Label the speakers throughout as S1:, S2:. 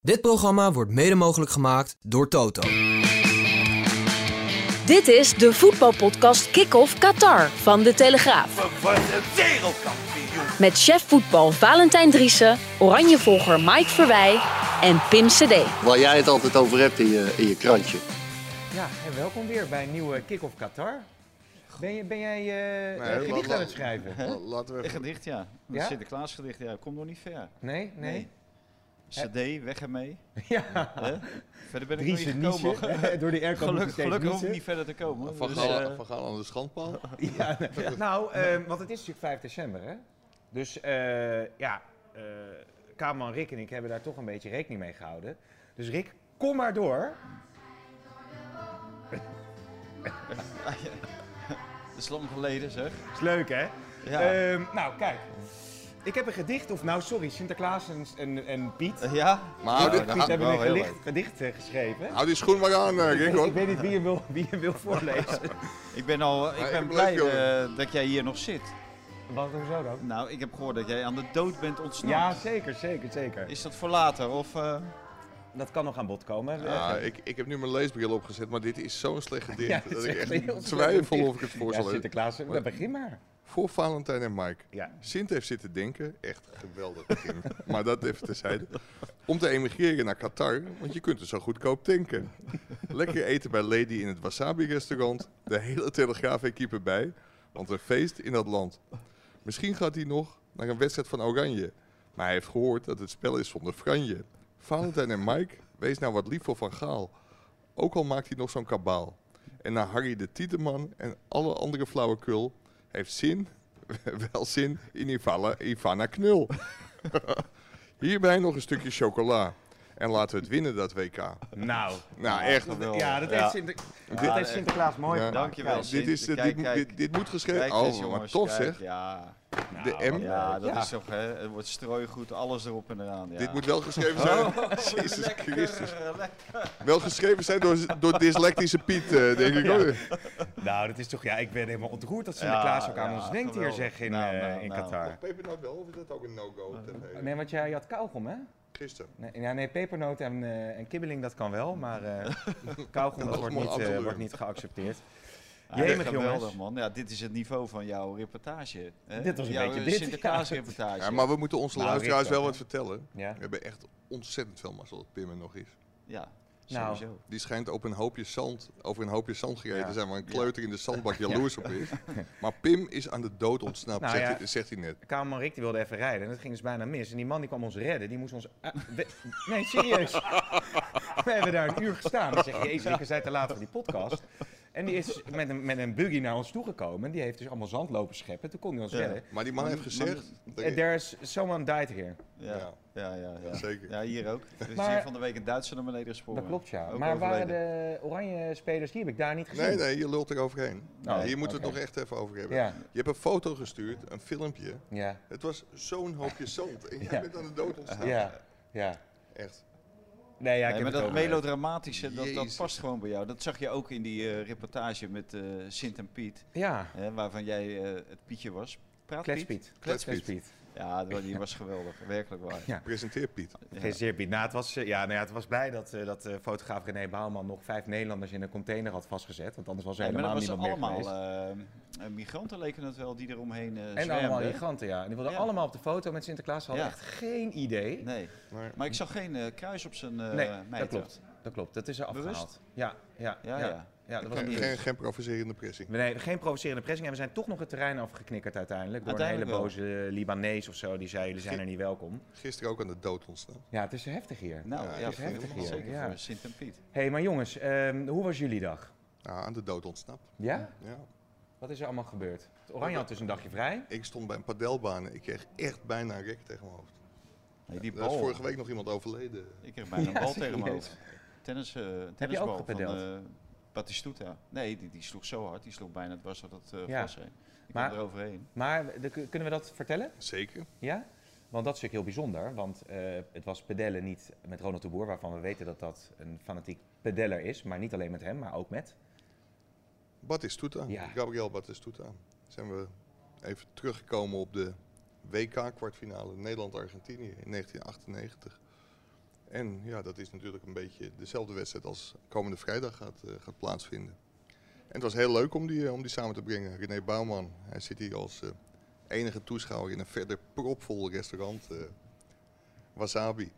S1: Dit programma wordt mede mogelijk gemaakt door Toto.
S2: Dit is de voetbalpodcast Kick-Off Qatar van De Telegraaf.
S3: Verworden wereldkampioen.
S2: Met chef voetbal Valentijn Driessen, oranjevolger Mike Verwij en Pim Cedee.
S4: Waar jij het altijd over hebt in je, in je krantje.
S5: Ja, en welkom weer bij een nieuwe Kick-Off Qatar. Ben, je, ben jij eh
S6: Nee,
S5: een gedicht
S6: laat-
S5: aan het schrijven?
S6: La-
S5: Nee?
S6: Laten we
S7: Een
S6: even-
S7: gedicht, ja. Een
S5: Ja?
S7: Sinterklaasgedicht, ja. Kom nog niet ver.
S5: Nee?
S7: CD, weg ermee.
S5: Ja,
S7: Hè? Verder ben ik nog
S5: Dries
S7: niet
S5: en
S7: gekomen.
S5: Nietzsche. hè, Door die airco moet je
S7: Gelukkig,
S5: steeds
S7: gelukkig hoef ik
S5: niezen.
S7: niet verder te komen.
S6: Van
S7: dus,
S6: Gaal,
S7: eh,
S6: van Gaal aan de schandpaal.
S5: Ja, nou, eh, want het is natuurlijk 5 december, hè? Dus eh, ja, eh Kamerman Rick en ik hebben daar toch een beetje rekening mee gehouden. Dus Rick, kom maar door.
S7: dat is lang geleden, zeg.
S5: Is leuk, hè?
S7: Ja.
S5: Ehm, nou, kijk. Ik heb een gedicht, of nou, sorry, Sinterklaas en, en, en Piet.
S7: Eh, ja?
S6: Maar hou,
S5: Piet en
S6: die,
S5: Piet
S6: hou-
S5: hebben
S7: wel
S5: een
S7: heel
S5: gelicht- gedicht eh, geschreven.
S6: hou die schoen maar aan, eh,
S5: Ik,
S6: Rick.
S5: ik
S6: hoor.
S5: weet niet wie hem wil, wie hem wil voorlezen.
S7: Ik ben, al, ik
S6: Maar
S7: ben
S6: ik
S7: blij
S6: leuk, jongen.
S7: eh, dat jij hier nog zit.
S5: Wat hoezo dan?
S7: Nou, ik heb gehoord dat jij aan de dood bent ontsnapt.
S5: Ja, zeker, zeker, zeker.
S7: Is dat voor later? Of, eh,
S5: Dat kan nog aan bod komen.
S6: Ja, Ah, ik, ik heb nu mijn leesbril opgezet, maar dit is zo'n slecht gedicht
S5: Ja, dit
S6: dat
S5: is
S6: ik
S5: echt heel
S6: echt twijfel
S5: slecht
S6: of ik het voor
S5: ja,
S6: zal lezen.
S5: Sinterklaas, maar begin maar.
S6: Voor Valentijn en Mike.
S5: Ja.
S6: Sint heeft zitten denken, echt geweldig begin, maar dat even terzijde. Om te emigreren naar Qatar, want je kunt er zo goedkoop tanken. Lekker eten bij Lady in het Wasabi-restaurant, de hele Telegraaf-equipe bij, want een feest in dat land. Misschien gaat hij nog naar een wedstrijd van Oranje, maar hij heeft gehoord dat het spel is zonder franje. Valentijn en Mike, wees nou wat lief voor Van Gaal, ook al maakt hij nog zo'n kabaal. En naar Harry de Tieteman en alle andere flauwekul heeft zin, wel zin in Ivana, Ivana Knul. Hierbij nog een stukje chocola. En laten we het winnen, dat WK.
S5: Nou.
S6: Nou, echt.
S5: Ja, dat heeft, Sinter- dat
S7: Ja,
S5: heeft
S7: eh,
S5: Sinterklaas mooi
S6: ja.
S5: gedaan.
S7: Dankjewel.
S6: Dit, is,
S7: Sint.
S6: eh, dit,
S7: Kijk, kijk.
S6: dit, dit moet geschreven.
S7: kijk
S6: Oh,
S7: eens,
S6: maar
S7: jongens,
S6: tof
S7: kijk,
S6: zeg.
S7: Ja,
S6: De M.
S7: ja dat
S5: Ja.
S7: is toch, hè. Het wordt strooigoed, alles erop en eraan. Ja.
S6: Dit moet wel geschreven zijn. Jezus Christus.
S7: Eh, Oh. lekker.
S6: Wel geschreven zijn door, door dyslectische Piet, eh, denk ik. hoor.
S5: Nou, dat is toch, ja, ik ben helemaal ontroerd dat Sinterklaas
S7: Ja,
S5: ook aan
S7: ja,
S5: ons denkt hier,
S7: geweldig.
S5: zeg, in,
S7: Nou,
S5: eh,
S7: nou,
S5: in
S7: nou.
S5: Qatar.
S6: Pepernoot wel, of is dat ook een no-go? TV?
S5: Nee, want jij had kauwgom, hè?
S6: Gisteren.
S5: Nee, ja, nee pepernoot en, eh, en kibbeling, dat kan wel, maar eh kauwgom dat
S6: mag
S5: wordt,
S6: maar
S5: niet, eh,
S6: afgeleuren.
S5: wordt niet geaccepteerd.
S7: Ja, dit is
S5: Jemig,
S7: geweldig,
S5: jongens.
S7: man. Ja, dit is het niveau van jouw reportage. Hè?
S5: Dit was een
S7: jouw eh,
S5: beetje dit,
S7: Sinterklaas
S5: ja.
S7: reportage.
S6: Ja, maar we moeten onze
S5: Nou,
S6: luisteraars
S5: Rick ook,
S6: wel wat
S5: hè.
S6: vertellen.
S5: Ja.
S6: We hebben echt ontzettend veel mazzel dat Pim er nog is.
S7: Ja,
S5: Nou.
S7: sowieso.
S6: Die schijnt op een hoopje zand, over een hoopje zand gereden
S5: Ja.
S6: te zijn, waar een kleuter in de zandbak jaloers op is. Maar Pim is aan de dood ontsnapt,
S5: Nou
S6: zegt,
S5: ja.
S6: hij, zegt hij net.
S5: Kamerman Rick die wilde even rijden en dat ging dus bijna mis. En die man die kwam ons redden, die moest ons... eh, we- nee, serieus. We hebben daar een uur gestaan. Ik zeg, jezus, ik zei te laat voor die podcast. En die is met een, met een buggy naar ons toegekomen. Die heeft dus allemaal zand lopen scheppen. Toen kon hij ons redden.
S6: Maar die man heeft gezegd... dat
S5: Eh,
S6: hij-
S5: There's someone died here.
S7: Ja,
S6: Ja.
S7: ja, ja. ja,
S6: Zeker.
S7: Ja, hier ook. We
S5: Maar-
S7: zien van de week een Duitser naar beneden gesprongen.
S5: Dat klopt, ja.
S7: Ook
S5: maar waren
S7: overleden.
S5: de oranje spelers, die heb ik daar niet gezien.
S6: Nee, nee, je lult eroverheen.
S5: Oh,
S6: Hier moeten we
S5: oké.
S6: het nog echt even over hebben.
S5: Ja.
S6: Je hebt een foto gestuurd, een filmpje.
S5: Ja,
S6: Het was zo'n hoopje zand. En jij
S5: Ja.
S6: bent aan de dood ontsnapt.
S5: ja, ja.
S6: Echt.
S5: Nee, ja, ik
S7: Nee,
S5: heb
S7: maar
S5: het
S7: dat
S5: ook gezien.
S7: melodramatische, dat, dat
S6: Jezus.
S7: past gewoon bij jou. Dat zag je ook in die eh, reportage met eh, Sint en Piet,
S5: Ja,
S7: hè, waarvan jij eh, het Pietje was. Praat Piet?
S5: kletspiet.
S6: Kletspiet.
S5: Kletspiet.
S7: Ja, dat- die was geweldig. Werkelijk waar.
S5: Ja.
S6: Presenteer Piet.
S5: Gefeliciteerd, Piet. Nou, het was, eh, ja, nou ja, het was blij dat, eh, dat eh, fotograaf René Bouwman nog vijf Nederlanders in een container had vastgezet. Want anders was er
S7: Nee, maar dat
S5: helemaal
S7: was
S5: niemand meer
S7: allemaal
S5: geweest.
S7: eh, eh, migranten leken het wel die eromheen eh
S5: en
S7: zwermden.
S5: allemaal giganten, ja. En die wilden
S7: Ja.
S5: allemaal op de foto met Sinterklaas. Ze hadden
S7: Ja.
S5: echt geen idee.
S7: Nee,
S6: Maar-
S7: maar ik zag geen eh, kruis op zijn eh
S5: Nee, dat
S7: mijter.
S5: klopt. Dat klopt. Dat is er
S7: Bewust?
S5: afgehaald. Ja, ja, ja. ja.
S7: Ja, ja.
S5: dat was
S6: Geen,
S5: niet
S6: geen, geen provocerende pressing.
S5: Nee, geen provocerende pressing. En we zijn toch nog het terrein afgeknikkerd uiteindelijk. Door een
S7: Uiteindelijk
S5: hele boze Libanees of zo. Die zei, jullie zijn er niet welkom.
S6: Gisteren ook aan de dood ontsnapt.
S5: Ja, het is heftig hier.
S7: Nou, ja,
S5: het is
S7: vind ik
S5: heftig
S7: wel
S5: hier,
S7: Zeker
S5: ja.
S7: voor Sint en Piet.
S5: Hé, hey, maar jongens, ehm, hoe was jullie dag?
S6: Ja, Ah, aan de dood ontsnapt.
S5: Ja?
S6: Ja.
S5: Wat is er allemaal gebeurd? Het Oranje had dus een dagje vrij.
S6: Ik stond bij een padelbaan en ik kreeg echt bijna een rek tegen mijn hoofd.
S7: Nee, die
S6: Daar is
S7: bal.
S6: vorige week nog iemand overleden.
S7: Ik kreeg bijna een
S5: Ja,
S7: bal tegen mijn
S5: serieus.
S7: hoofd. Tennis, eh,
S5: ook
S7: tennisbal van
S5: gepedeld?
S7: eh Batistuta. Nee, die, die sloeg zo hard. Die sloeg bijna het was dat het eh
S5: Ja.
S7: gras heen. Ik
S5: Maar-
S7: kwam er overheen.
S5: Maar de- kunnen we dat vertellen?
S6: Zeker.
S5: Ja? Want dat is natuurlijk heel bijzonder, want eh, het was pedellen niet met Ronald de Boer, waarvan we weten dat dat een fanatiek pedeller is. Maar niet alleen met hem, maar ook met.
S6: Batistuta.
S5: Ja.
S6: Gabriel Batistuta. Zijn we even teruggekomen op de WK-kwartfinale Nederland-Argentinië in 1998. En ja, dat is natuurlijk een beetje dezelfde wedstrijd als komende vrijdag gaat, eh, gaat plaatsvinden. En het was heel leuk om die, eh, om die samen te brengen. René Bouwman, hij zit hier als eh, enige toeschouwer in een verder propvol restaurant, eh, Wasabi.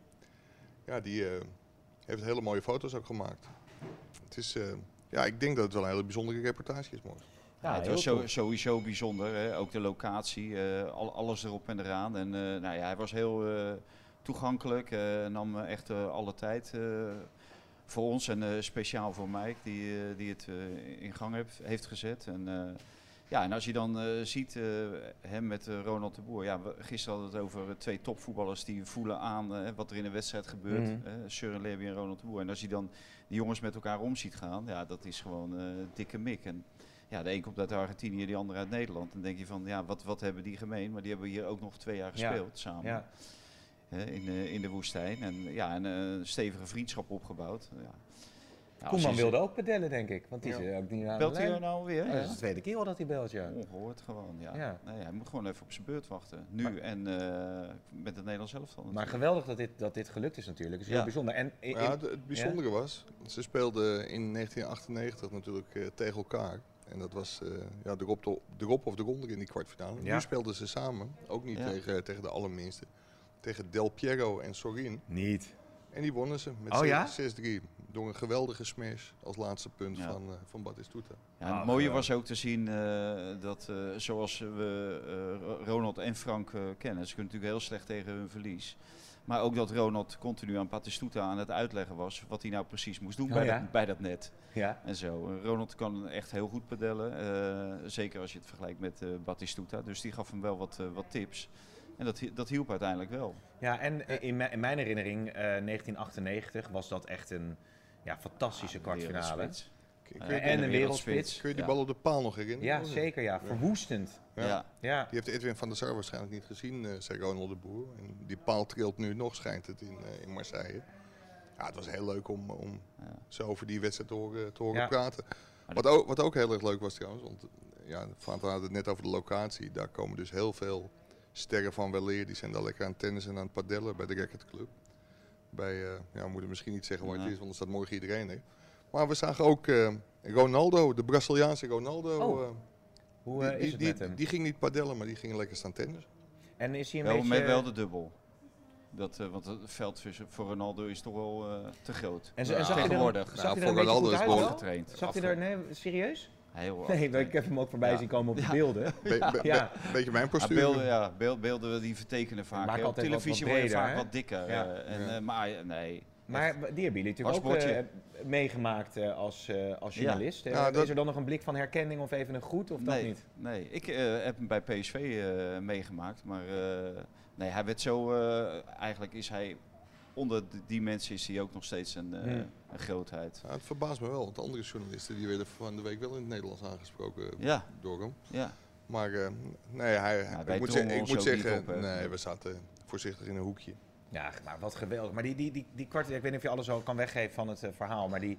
S6: Ja, die eh, heeft hele mooie foto's ook gemaakt. Het is, eh, ja, ik denk dat het wel een hele bijzondere reportage is morgen.
S7: Ja, het was zo- sowieso bijzonder. Hè? Ook de locatie, eh, al, alles erop en eraan. En eh, nou ja, hij was heel eh, toegankelijk. eh, nam eh, echt eh, alle tijd eh, voor ons en eh, speciaal voor Mike, die, eh, die het eh, in gang heeft, heeft gezet. En, eh, ja, en als je dan eh, ziet eh, hem met eh, Ronald de Boer. Ja, we- gisteren hadden we het over eh, twee topvoetballers die voelen aan eh, wat er in een wedstrijd gebeurt.
S5: Mhm.
S7: eh, Søren Lerby en Ronald de Boer. En als je dan die jongens met elkaar om ziet gaan, ja, dat is gewoon eh, dikke mik. En ja, de een komt uit Argentinië, die andere uit Nederland. Dan denk je van, ja, wat, wat hebben die gemeen? Maar die hebben hier ook nog twee jaar
S5: Ja,
S7: gespeeld samen
S5: Ja.
S7: hè, in, de, in de woestijn. En ja, en, eh, een stevige vriendschap opgebouwd. Ja. Ja, als
S5: Koeman
S7: je-
S5: wilde ook pedellen, denk ik, want die
S6: Ja.
S5: is eh, ook niet aan
S7: Belt
S5: de
S7: hij er
S5: lijn.
S7: nou weer?
S5: Oh,
S7: Ja.
S5: dat is de tweede keer al dat hij belt, ja.
S7: Ongehoord gewoon, ja.
S5: Ja.
S7: Nee, hij moet gewoon even op zijn beurt wachten. Nu
S5: Maar-
S7: en eh, met het Nederlands
S5: Maar
S7: elftal. natuurlijk.
S5: geweldig dat dit, dat dit gelukt is natuurlijk. Het is heel
S7: Ja.
S5: bijzonder. En in-
S6: Ja,
S5: in-
S6: het, het bijzondere was, ze speelden in 1998 natuurlijk eh, tegen elkaar. En dat was eh ja, erop, to- erop of eronder in die kwartfinale.
S5: Ja.
S6: Nu speelden ze samen, ook niet
S7: Ja.
S6: tegen, eh, tegen de allerminste. Tegen Del Piero en Sorin.
S5: Niet.
S6: En die wonnen ze met
S5: Oh ja?
S6: 6-3. Door een geweldige smash als laatste punt
S7: Ja.
S6: van, eh van Batistuta.
S7: Ja,
S5: Ah,
S7: en het mooie was ook te zien eh, dat eh, zoals we eh, Ro- Ronald en Frank eh, kennen, ze kunnen natuurlijk heel slecht tegen hun verlies. Maar ook dat Ronald continu aan Patistuta aan het uitleggen was wat hij nou precies moest doen
S5: Oh
S7: bij,
S5: ja?
S7: dat, bij dat net.
S5: Ja.
S7: En zo. Eh, Ronald kan echt heel goed pedellen. eh, zeker als je het vergelijkt met eh Batistuta. Dus die gaf hem wel wat, eh, wat tips. En dat, hi- dat hielp uiteindelijk wel.
S5: Ja, en eh, in, mijn- in mijn herinnering, eh, 1998 was dat echt een ja,
S7: Ah,
S5: fantastische kwartfinale.
S7: Wereldspits.
S6: Kun,
S7: Eh,
S6: kun je,
S5: en een wereldspits.
S6: kun je die
S7: ja.
S6: bal op de paal nog herinneren? Oh,
S5: Ja, zeker ja. Verwoestend.
S6: Ja.
S7: Ja.
S5: Ja.
S6: Die heeft Edwin van der Sar waarschijnlijk niet gezien, eh, zei Ronald de Boer. En die paal trilt nu nog, schijnt het, in, eh, in Marseille. Ja, het was heel leuk om, om
S7: Ja.
S6: zo over die wedstrijd te horen, te horen
S5: Ja.
S6: praten. Wat ook, wat ook heel erg leuk was trouwens, want eh, ja, Vaanten had het net over de locatie. Daar komen dus heel veel sterren van weleer. Die zijn daar lekker aan het tennissen en aan het padellen bij de Racket Club. Bij, eh, ja, we moeten misschien niet zeggen waar het
S7: Nee.
S6: is, want dan staat morgen iedereen er. Maar we zagen ook eh, Ronaldo, de Braziliaanse Ronaldo.
S5: Oh,
S6: eh,
S5: Hoe
S6: die,
S5: eh, is
S6: die,
S5: het
S6: die-
S5: met hem?
S6: die ging niet padellen, maar die ging lekker staan tennissen.
S5: En is hij een
S7: Wel, met
S5: beetje...
S7: wel de dubbel. Dat, eh, want het veld voor- voor Ronaldo is toch wel eh, te groot.
S5: En, z- en zag je er,
S7: Tegenwoordig.
S5: zag je
S6: Nou,
S5: er een
S6: voor
S5: beetje
S6: Ronaldo
S5: goed
S6: is
S5: uit
S6: behoorlijk
S5: wel?
S7: Getraind.
S5: Zag je er... Nee, serieus?
S7: Heel
S5: Nee, maar
S7: afgetraind.
S5: ik heb hem ook voorbij
S7: Ja.
S5: zien komen op de
S7: Ja.
S5: beelden.
S6: Be- be-
S5: Ja.
S6: be- beetje mijn
S7: Ah,
S6: postuur.
S7: beelden, ja, beeld, beelden die vertekenen vaak.
S5: Maak
S7: hè. Op
S5: altijd wat-
S7: televisie
S5: wat
S7: word je
S5: breder,
S7: vaak
S5: hè?
S7: wat dikker.
S5: Ja.
S7: eh, en,
S6: Ja.
S7: eh, maar nee.
S5: Maar die hebben jullie natuurlijk ook eh,
S7: Paspoortje.
S5: meegemaakt eh, als, eh, als
S7: Ja.
S5: journalist. Eh,
S6: Ja, dat-
S5: Is er dan nog een blik van herkenning of even een groet of dat
S7: nee,
S5: niet?
S7: nee, ik eh, heb hem bij PSV eh, meegemaakt, maar eh, nee, hij werd zo. eh, eigenlijk is hij onder d- die mensen is hij ook nog steeds een, eh,
S5: Hmm.
S7: een grootheid.
S6: Ja, het verbaast me wel, want andere journalisten die werden van de week wel in het Nederlands aangesproken
S7: Ja,
S6: door hem.
S7: ja.
S6: Maar eh, nee, hij,
S7: Nou, wij
S6: ik moet,
S7: drongen
S6: ze- ik
S7: ons
S6: moet
S7: ook
S6: zeggen,
S7: niet op, hè.
S6: nee, we zaten voorzichtig in een hoekje.
S5: Ja, maar wat geweldig. Maar die, die, die, die kwart, ik weet niet of je alles al kan weggeven van het eh, verhaal, maar die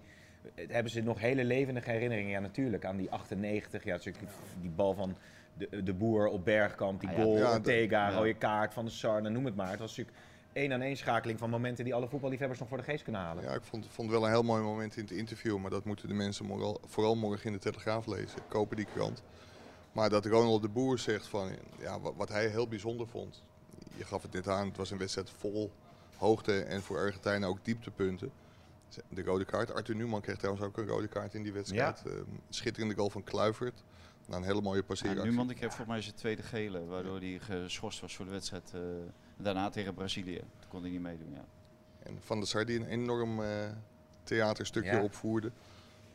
S5: eh, hebben ze nog hele levendige herinneringen. Ja, natuurlijk, aan die 98, ja, natuurlijk die bal van de, de boer op Bergkamp, die
S7: Ah, ja.
S5: goal,
S6: Ja,
S5: Ortega,
S7: dat- ja.
S5: rode kaart van de Sar, nou, noem het maar. Het was natuurlijk één aan één schakeling van momenten die alle voetballiefhebbers nog voor de geest kunnen halen.
S6: Ja, ik vond, vond wel een heel mooi moment in het interview, maar dat moeten de mensen moral- vooral morgen in de Telegraaf lezen. Kopen die krant. Maar dat Ronald de Boer zegt van, ja, wat, wat hij heel bijzonder vond. Je gaf het net aan, het was een wedstrijd vol hoogte en voor Argentijnen ook dieptepunten. De rode kaart. Arthur Newman kreeg trouwens ook een rode kaart in die wedstrijd. Ehm, schitterende goal van Kluivert. Na een hele mooie
S7: Ja,
S6: passeeractie.
S7: Ah, Numan, ik heb voor mij zijn tweede gele, waardoor hij geschorst was voor de wedstrijd. eh, daarna tegen Brazilië. Toen kon hij niet meedoen. Ja.
S6: En Van der Sar die een enorm eh, theaterstukje
S5: Ja.
S6: opvoerde.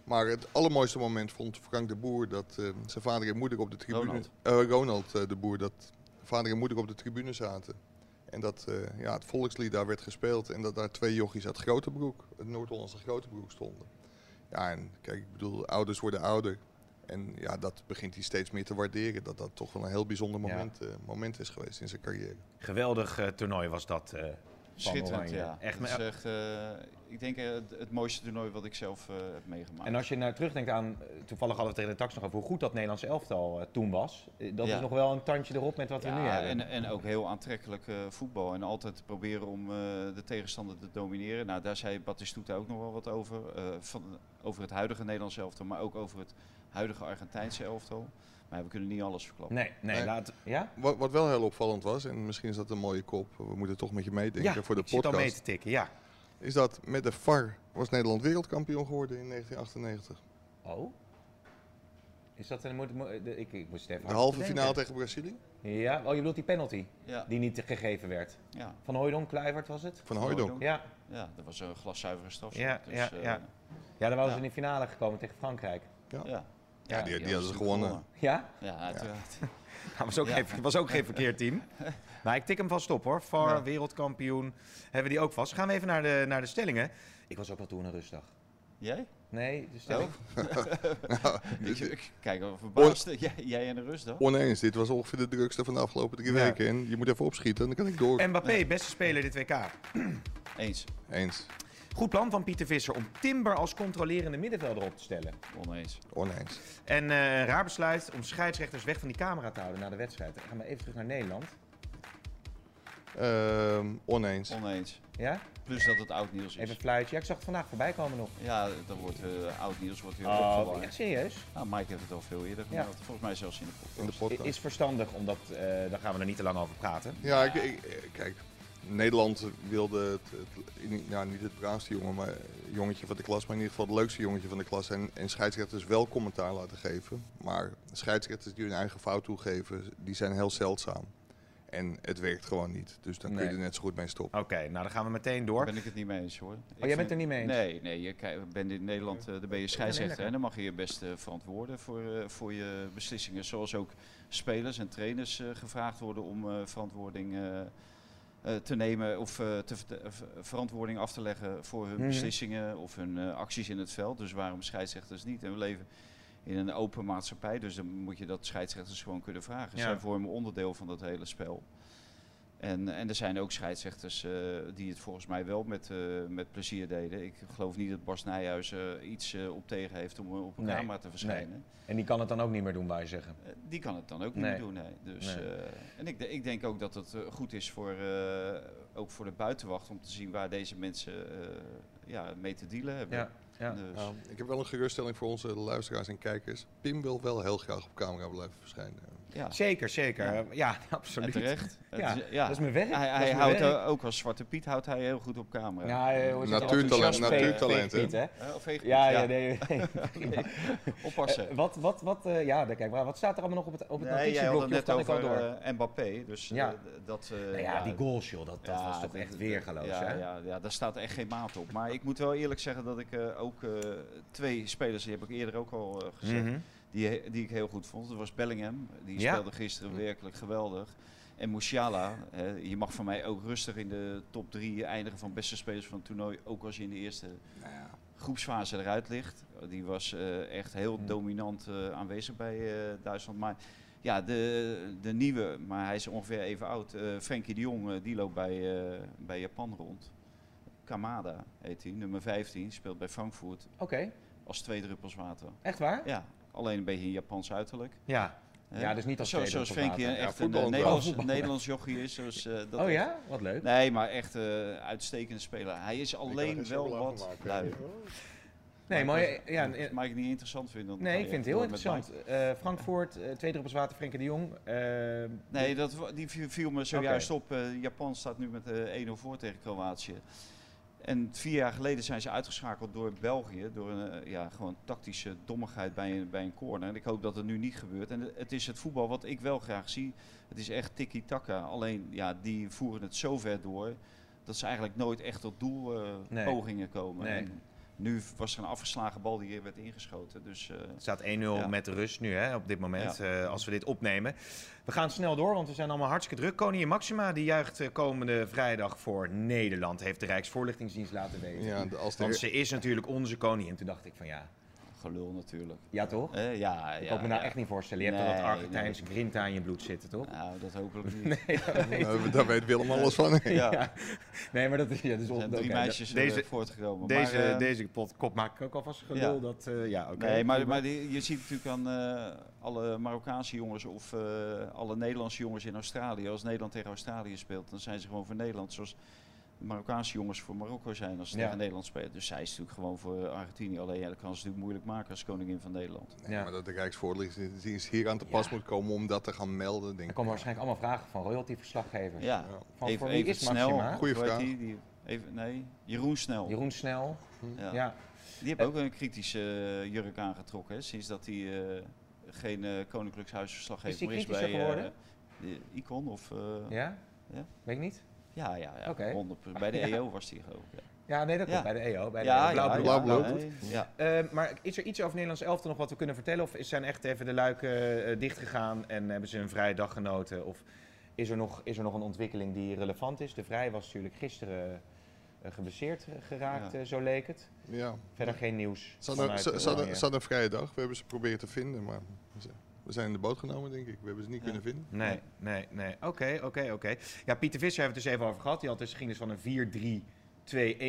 S6: Maar het allermooiste moment vond Frank de Boer dat eh, zijn vader en moeder op de tribune...
S7: Ronald.
S6: Eh, Ronald eh, de Boer, dat vader en moeder op de tribune zaten. En dat eh, ja, het volkslied daar werd gespeeld en dat daar twee jochies uit Grotebroek, het Noord-Hollandse Grotebroek, stonden. Ja, en kijk, ik bedoel, ouders worden ouder. En ja, dat begint hij steeds meer te waarderen. Dat dat toch wel een heel bijzonder
S5: Ja.
S6: moment, eh, moment is geweest in zijn carrière.
S5: Geweldig eh, toernooi was dat. eh,
S7: Schitterend,
S5: Oranje.
S7: ja.
S5: Echt,
S7: Echt, is
S5: maar-
S7: echt eh, ik denk eh, het, het mooiste toernooi wat ik zelf eh, heb meegemaakt.
S5: en als je nou terugdenkt aan, eh, toevallig hadden we het tegen de tax nog over hoe goed dat Nederlands elftal eh, toen was. Eh, dat
S7: Ja.
S5: is nog wel een tandje erop met wat we nu
S7: Ja,
S5: hebben.
S7: en, en ook heel aantrekkelijk eh, voetbal. En altijd proberen om eh, de tegenstander te domineren. Nou, daar zei Batistuta ook nog wel wat over. eh, van, over het huidige Nederlandse elftal, maar ook over het huidige Argentijnse elftal. Maar we kunnen niet alles verklappen.
S5: Nee, nee,
S6: Nee.
S5: laat... Ja?
S6: Wat, wat wel heel opvallend was, en misschien is dat een mooie kop, we moeten toch met je meedenken
S5: ja,
S6: voor de
S5: ik zit al mee
S6: podcast.
S5: te tikken, ja.
S6: Is dat met de VAR was Nederland wereldkampioen geworden in 1998.
S5: Oh? Is dat een... Moet, moet- de- ik, ik moest het even
S6: De
S5: hard
S6: halve
S5: bedenken.
S6: finale tegen Brazilië.
S5: Ja, oh, je bedoelt die penalty
S7: Ja,
S5: die niet gegeven werd.
S7: ja,
S5: Van Hooydonk, Kluivert was het?
S6: Van Hooijdonk.
S5: Ja,
S7: ja, dat was een glaszuivere strafschop.
S5: Ja,
S7: dus,
S5: ja,
S7: eh,
S5: ja. ja daar waren ze
S7: Ja.
S5: in de finale gekomen tegen Frankrijk.
S7: ja. Ja,
S6: die- die hadden ze
S7: natuurlijk
S6: gewonnen.
S5: Ja?
S7: Ja, uiteraard.
S5: Dat Nou, was ook,
S7: Ja.
S5: geen, was ook geen verkeerd team. Maar ik tik hem vast op hoor. VAR,
S7: Ja.
S5: wereldkampioen, hebben we die ook vast. Gaan we even naar de, naar de stellingen. Ik was ook al toen een rustdag.
S7: Jij?
S5: Nee, de stelling.
S6: Oh, Nou,
S7: Ik,
S6: Dit-
S7: ik kijk wel verbaasd. Jij, jij en de rust dan?
S6: dus, Oneens, dit was ongeveer de drukste van de afgelopen drie
S5: Ja.
S6: weken. En je moet even opschieten, dan kan ik door.
S5: Mbappé, beste speler dit WK.
S7: Eens.
S6: Eens,
S5: Goed plan van Pieter Visser om Timber als controlerende middenvelder op te stellen.
S7: Oneens.
S6: oneens.
S5: En eh, een raar besluit om scheidsrechters weg van die camera te houden na de wedstrijd. Dan gaan we even terug naar Nederland.
S6: Ehm, oneens.
S7: Oneens.
S5: Ja?
S7: Plus dat het oud nieuws
S5: Even
S7: is.
S5: een fluitje. Ja, ik zag het vandaag voorbij komen nog.
S7: Ja, dan wordt eh, oud nieuws wordt weer
S5: Oh,
S7: opgewarmd.
S5: echt serieus?
S7: Nou, Mike heeft het al veel eerder
S5: Ja.
S7: gemeld. Volgens mij zelfs in de podcast.
S6: In de
S5: I-
S6: podcast.
S5: Is verstandig, omdat eh daar gaan we er niet te lang over praten.
S6: Ja, ik, ik- kijk, Nederland wilde het, het- niet- nou, niet het braafste jongen, maar, jongetje van de klas, maar in ieder geval het leukste jongetje van de klas. En, en scheidsrechters wel commentaar laten geven. Maar scheidsrechters die hun eigen fout toegeven, die zijn heel zeldzaam. En het werkt gewoon niet. Dus dan kun je
S5: Nee.
S6: er net zo goed mee stoppen.
S5: Oké, nou dan gaan we meteen door.
S7: ben ik het niet mee eens hoor. Oh,
S5: jij bent het er niet mee eens?
S7: Nee, nee je ki- bent in Nederland, eh daar ben je scheidsrechter
S5: lekker.
S7: en dan mag je je best eh, verantwoorden voor, eh, voor je beslissingen. Zoals ook spelers en trainers eh, gevraagd worden om eh, verantwoording eh, eh, te nemen of eh, te verte- eh, ver- verantwoording af te leggen voor hun
S5: Mhm.
S7: beslissingen of hun eh, acties in het veld. Dus waarom scheidsrechters niet? En we leven in een open maatschappij, dus dan moet je dat scheidsrechters gewoon kunnen vragen.
S5: Ja.
S7: Zij vormen onderdeel van dat hele spel. En, en er zijn ook scheidsrechters eh, die het volgens mij wel met, eh, met plezier deden. Ik geloof niet dat Bas Nijhuis eh, iets eh, op tegen heeft om eh, op een
S5: Nee,
S7: camera te verschijnen.
S5: En die kan het dan ook niet meer doen, waar je zeggen.
S7: Eh, die kan het dan ook niet
S5: Nee.
S7: meer doen. Nee. Dus,
S5: Nee.
S7: eh, en ik, de- ik denk ook dat het eh, goed is voor, eh, ook voor de buitenwacht om te zien waar deze mensen eh, ja, mee te dealen hebben.
S5: Ja, ja.
S7: Dus,
S6: Nou, ik heb wel een geruststelling voor onze luisteraars en kijkers. Pim wil wel heel graag op camera blijven verschijnen.
S7: ja.
S5: Zeker, zeker. Ja,
S7: Ja. En
S5: absoluut.
S7: terecht.
S5: Ja,
S7: Het is-
S5: dat is mijn werk.
S7: Hij,
S5: Dat is
S7: hij
S5: mijn
S7: houdt
S5: werk.
S7: eh, ook als Zwarte Piet houdt hij heel goed op camera.
S5: Ja, eh, hoe is het?
S6: Natuurtalent,
S5: Enthousiast
S6: natuurtalent,
S5: Piet,
S6: hè?
S7: Eh, of heeft-
S5: Ja, ja, nee. nee.
S7: Oppassen.
S5: Eh, wat, wat, wat, eh, ja, daar kijk, maar wat staat er allemaal nog op het, op het
S7: Nee, jij had het
S5: notitieblokje? Of
S7: net
S5: kan ik al
S7: over
S5: door?
S7: eh, Mbappé, dus eh,
S5: Ja.
S7: d- dat... eh,
S5: Nou ja, die goals, joh, dat, dat
S7: ja,
S5: was toch
S7: dat-
S5: echt weergeloos,
S7: ja,
S5: hè?
S7: Ja, ja, daar staat echt geen maat op. Maar ik moet wel eerlijk zeggen dat ik eh, ook eh, twee spelers, die heb ik eerder ook al eh, gezegd,
S5: Mhm.
S7: die, he- die ik heel goed vond. Dat was Bellingham, die
S5: Ja.
S7: speelde gisteren werkelijk geweldig. En Musiala, hè, je mag van mij ook rustig in de top drie eindigen van beste spelers van het toernooi, ook als je in de eerste groepsfase eruit ligt. Die was eh, echt heel dominant eh, aanwezig bij eh, Duitsland. Maar ja, de, de nieuwe, maar hij is ongeveer even oud. eh Frenkie de Jong, eh, die loopt bij, eh, bij Japan rond. Kamada heet hij, nummer 15, speelt bij Frankfurt
S5: Oké,
S7: als twee druppels water.
S5: echt waar?
S7: Ja, alleen een beetje een Japans uiterlijk.
S5: Ja.
S7: hè.
S5: Ja, dus niet als
S7: Zo-
S5: twee
S7: Zoals
S5: druppels
S7: Frenkie
S5: water.
S6: Ja,
S7: echt een
S6: voetbal
S7: eh,
S6: wel.
S7: Nederlands,
S5: Voetbal.
S7: Nederlands jochie is. Dus, eh, dat
S5: oh
S7: is-
S5: ja? Wat leuk.
S7: Nee, maar echt eh uitstekende speler. Hij is alleen wel wat lui.
S5: Nee,
S7: Maar
S5: mooi.
S7: ik-
S5: Ja,
S7: Als
S5: eh,
S7: Mike niet interessant vindt, dan
S5: nee,
S7: ga
S5: ik
S7: je
S5: vind het
S7: echt
S5: heel
S7: door met
S5: interessant. Eh, Frankfurt, eh, twee druppels water, Frenkie de Jong. eh,
S7: Mike. Nee, dat, wa- die viel- viel me zojuist op. Eh, Japan staat nu met eh 1-0 voor tegen Kroatië. En vier jaar geleden zijn ze uitgeschakeld door België. Door een eh, ja, gewoon tactische dommigheid bij een, bij een corner. En ik hoop dat het nu niet gebeurt. En het is het voetbal wat ik wel graag zie. Het is echt tiki-taka. Alleen, ja, die voeren het zo ver door. Dat ze eigenlijk nooit echt tot doelpogingen
S5: Nee.
S7: pogingen komen.
S5: Nee.
S7: En Nu was er een afgeslagen bal die werd ingeschoten. Dus eh,
S5: Het staat 1-0
S7: Ja.
S5: met rust nu, hè, op dit moment,
S7: Ja.
S5: eh, als we dit opnemen. We gaan snel door, want we zijn allemaal hartstikke druk. Koningin Maxima die juicht eh, komende vrijdag voor Nederland, heeft de Rijksvoorlichtingsdienst laten weten.
S6: Ja, de- als de-
S5: Want ze is natuurlijk onze koningin. Toen dacht ik van ja,
S7: gelul natuurlijk.
S5: ja toch?
S7: Eh, ja,
S5: Ik
S7: ja,
S5: kan me nou
S7: ja.
S5: echt niet voorstellen. Je hebt
S7: Nee,
S5: toch dat Argentijnse grinta in je bloed zitten, toch?
S7: Nou, dat hopelijk niet.
S6: Eh, daar weet Willem alles van.
S7: Ja, er
S5: Nee, maar dat is... Ja, dat is on-
S7: zijn drie
S5: oké,
S7: meisjes eh,
S5: Deze,
S7: voortgekomen.
S5: deze,
S7: maar, eh,
S5: deze pot, kop maak ik ook alvast gelul.
S7: ja.
S5: Dat, eh, ja, oké.
S7: Nee, maar, maar die- je ziet natuurlijk aan eh, alle Marokkaanse jongens of eh, alle Nederlandse jongens in Australië. Als Nederland tegen Australië speelt, dan zijn ze gewoon voor Nederland. Zoals de Marokkaanse jongens voor Marokko zijn als ze
S5: Ja.
S7: tegen Nederland spelen. Dus zij is natuurlijk gewoon voor Argentinië. Alleen ja, dat kan ze natuurlijk moeilijk maken als koningin van Nederland.
S6: Nee, maar dat de Rijksvoorlichtingsdienst hier aan te pas moet komen om dat te gaan melden, denk
S5: Er
S6: ik.
S5: komen waarschijnlijk allemaal vragen van royalty-verslaggevers.
S7: Ja,
S5: Van
S7: even,
S5: voor wie
S7: even
S5: is
S7: snel.
S5: Maxima?
S6: Goeie
S7: Hoe heet
S6: vraag.
S7: Die, die, even, nee, Jeroen Snel.
S5: Jeroen Snel.
S7: Ja.
S5: Ja.
S7: Die heeft ook een kritische eh, jurk aangetrokken, hè, sinds dat hij eh, geen eh, koninklijks
S5: Is die
S7: huisverslaggever is
S5: kritischer
S7: bij eh,
S5: geworden?
S7: de Icon of... eh,
S5: Ja?
S7: Ja.
S5: Weet ik niet.
S7: Ja, ja, ja.
S5: Oké.
S7: 100%. Bij de EO was die geloof ik.
S5: Ja, nee, dat
S7: Ja.
S5: komt bij de EO. Bij de
S7: Ja,
S5: blauw
S7: ja,
S5: bloed.
S6: blauw
S7: ja,
S6: bloed.
S7: nee, ja.
S5: Eh, maar is er iets over Nederlands elftal nog wat we kunnen vertellen? Of is- zijn echt even de luiken eh, dichtgegaan en hebben ze een vrije dag genoten? Of is er, nog, is er nog een ontwikkeling die relevant is? De Vrij was natuurlijk gisteren eh, geblesseerd eh, geraakt,
S7: Ja.
S5: eh, zo leek het.
S6: Ja.
S5: Verder geen nieuws.
S6: Ze hadden-
S5: vanuit
S6: ze- ze hadden-
S5: Oranje.
S6: ze hadden een vrije dag. We hebben ze proberen te vinden, maar ze- we zijn in de boot genomen, denk ik. We hebben ze niet
S7: Ja.
S6: kunnen vinden.
S5: Nee, nee, nee. Oké, oké, oké. Ja, Pieter Visser hebben we het dus even over gehad. Die had dus, ging dus van een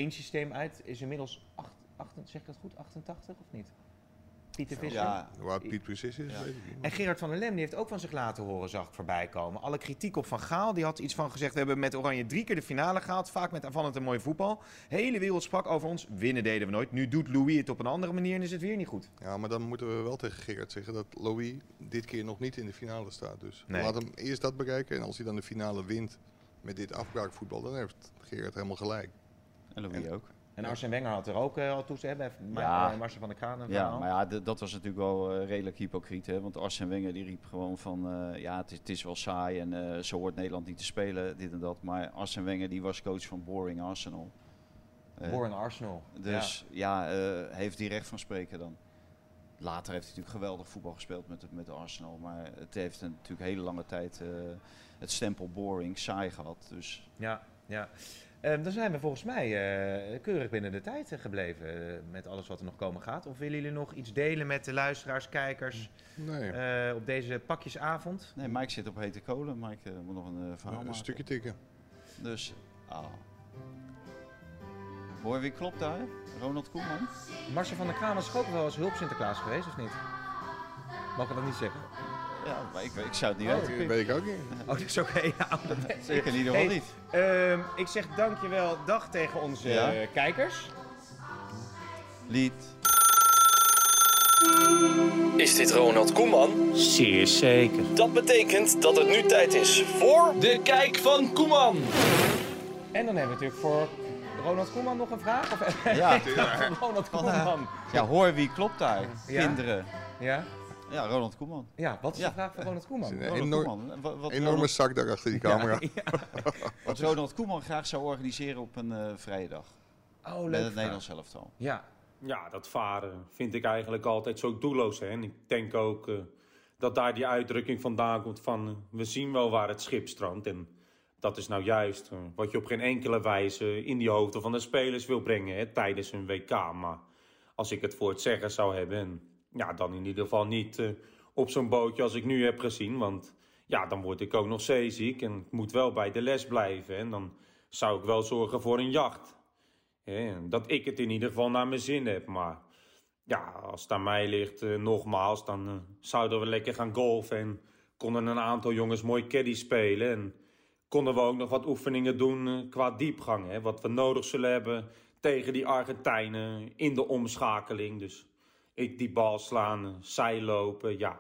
S5: 4-3-2-1 systeem uit. Is inmiddels, acht, acht, zeg ik dat goed, 88 of niet? Pieter Visser?
S7: Ja,
S6: Hoe oud Piet precies is,
S7: Ja.
S6: weet ik niet.
S5: En Gerard van der Lem die heeft ook van zich laten horen, zag ik voorbij komen. Alle kritiek op Van Gaal, die had iets van gezegd... we hebben met Oranje drie keer de finale gehaald, vaak met aanvallend en mooi voetbal. Hele wereld sprak over ons, winnen deden we nooit. Nu doet Louis het op een andere manier en is het weer niet goed.
S6: Ja, maar dan moeten we wel tegen Gerard zeggen dat Louis dit keer nog niet in de finale staat. Dus
S5: Nee.
S6: laat hem eerst dat bereiken. En als hij dan de finale wint met dit afbraakvoetbal, dan heeft Gerard helemaal gelijk.
S7: en Louis ook.
S5: En Arsene Wenger had er ook eh, al toe hebben, bij
S7: Ja.
S5: eh, Marcel van der Kraan. en
S7: Ja,
S5: verhaal.
S7: maar ja, d- dat was natuurlijk wel eh, redelijk hypocriet. Hè? Want Arsene Wenger die riep gewoon van... eh, ja, het is, het is wel saai en eh, zo hoort Nederland niet te spelen, dit en dat. Maar Arsene Wenger die was coach van Boring Arsenal. Eh,
S5: Voor een Arsenal. Ja.
S7: Dus ja, eh, heeft hij recht van spreken dan. Later heeft hij natuurlijk geweldig voetbal gespeeld met, met Arsenal. Maar het heeft een- natuurlijk hele lange tijd eh, het stempel boring, saai gehad. Dus
S5: Ja, ja. Ehm, dan zijn we volgens mij eh, keurig binnen de tijd eh, gebleven eh, met alles wat er nog komen gaat. Of willen jullie nog iets delen met de luisteraars, kijkers
S6: Nee,
S5: eh, op deze pakjesavond?
S7: nee, Mike zit op hete kolen. Mike eh, moet nog een eh,
S5: Nou,
S7: verhaal
S6: een
S7: maken.
S6: stukje tikken.
S7: Dus, ah. Hoor je wie klopt daar? Ronald Koeman?
S5: Marcel van der Kraan was toch ook wel als hulp Sinterklaas geweest, of niet? Mag ik dat niet zeggen?
S7: Ja, maar ik, ik zou het niet
S5: Oh.
S7: weten.
S6: Dat weet ik ook niet.
S5: Oh, dat is oké. ja.
S7: Zeker in ieder geval
S5: Hey,
S7: niet.
S5: ehm, ik zeg dankjewel, dag tegen onze
S7: Ja.
S5: eh, kijkers.
S7: Lied.
S8: Is dit Ronald Koeman? Zeer zeker. Dat betekent dat het nu tijd is voor de kijk van Koeman.
S5: En dan hebben we natuurlijk voor Ronald Koeman nog een vraag. Of
S7: Ja, eh,
S5: Ronald Koeman.
S7: ja, hoor wie klopt daar?
S5: Ja.
S7: Kinderen.
S5: Ja?
S7: Ja, Ronald Koeman.
S5: ja, wat is
S7: Ja.
S5: de vraag van Ronald Koeman? Oh,
S6: Het is
S7: Ronald
S6: Een enorm-
S7: Koeman. Wat, wat
S6: enorme
S7: Ronald,
S6: zak daar achter die camera.
S7: wat Ronald Koeman graag zou organiseren op een eh vrije dag.
S5: Oh, leuk.
S7: Met
S5: vraag.
S7: het Nederlands elftal.
S5: Ja,
S9: Ja, dat varen vind ik eigenlijk altijd zo doelloos. Hè? En ik denk ook eh, dat daar die uitdrukking vandaan komt van... eh, we zien wel waar het schip strandt. En dat is nou juist eh, wat je op geen enkele wijze in die hoofden van de spelers wil brengen... Hè, tijdens een WK. Maar als ik het voor het zeggen zou hebben... En, ja, dan in ieder geval niet eh, op zo'n bootje als ik nu heb gezien. Want ja, dan word ik ook nog zeeziek en ik moet wel bij de les blijven. hè. En dan zou ik wel zorgen voor een jacht. Hè, en dat ik het in ieder geval naar mijn zin heb. Maar ja, als het aan mij ligt, eh, nogmaals, dan eh, zouden we lekker gaan golfen. En konden een aantal jongens mooi caddy spelen. En konden we ook nog wat oefeningen doen eh, qua diepgang. Hè, wat we nodig zullen hebben tegen die Argentijnen in de omschakeling. Dus ik die bal slaan, eh, zij lopen, ja.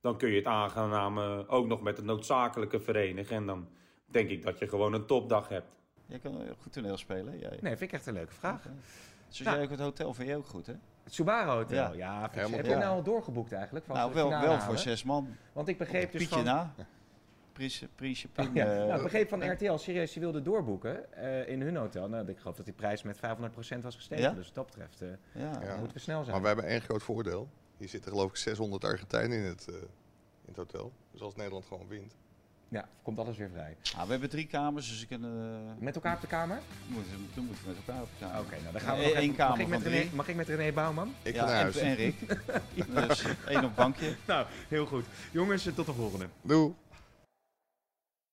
S9: Dan kun je het aangename ook nog met het noodzakelijke verenigen. En dan denk ik dat je gewoon een topdag hebt.
S7: Jij kan eh, goed toneel spelen. Jij.
S5: nee, vind ik echt een leuke vraag.
S7: Zoals
S5: Nou.
S7: jij ook het hotel van je ook goed, hè?
S5: Het Subaru Hotel. Ja,
S7: Ja.
S5: vind ik-
S6: Helemaal
S5: heb
S6: goed.
S5: je nou al doorgeboekt eigenlijk? Van
S7: nou,
S5: de
S7: wel,
S5: finale
S7: wel
S5: halen?
S7: voor zes man.
S5: Want ik begreep dus
S7: Pietje
S5: van...
S7: na. Prins, Prinsje Pim.
S5: Ja,
S7: eh,
S5: nou, ik begreep van RTL, serieus, die wilde doorboeken eh, in hun hotel. Nou, ik geloof dat die prijs met 500% was gestegen.
S7: Ja?
S5: Dus wat dat betreft eh,
S7: ja.
S6: Ja.
S5: moeten we snel zijn.
S6: Maar we hebben één groot voordeel. Hier zitten geloof ik 600 Argentijnen in het, eh, in het hotel. Dus als Nederland gewoon wint.
S5: Ja, komt alles weer vrij.
S7: Ah, we hebben drie kamers, dus ik kan, eh,
S5: Met elkaar op de kamer?
S7: moeten, toen moeten we met elkaar op de kamer.
S5: Oké, nou dan gaan we
S7: Eén
S5: nog even-
S7: Eh, kamer
S5: mag, ik met
S7: van
S5: René,
S7: drie.
S5: mag ik met René Bouwman?
S6: Ik ga
S7: Ja,
S6: naar
S7: en,
S6: huis.
S7: en Rick. dus één op bankje.
S5: Nou, heel goed. Jongens, tot de volgende.
S6: Doei.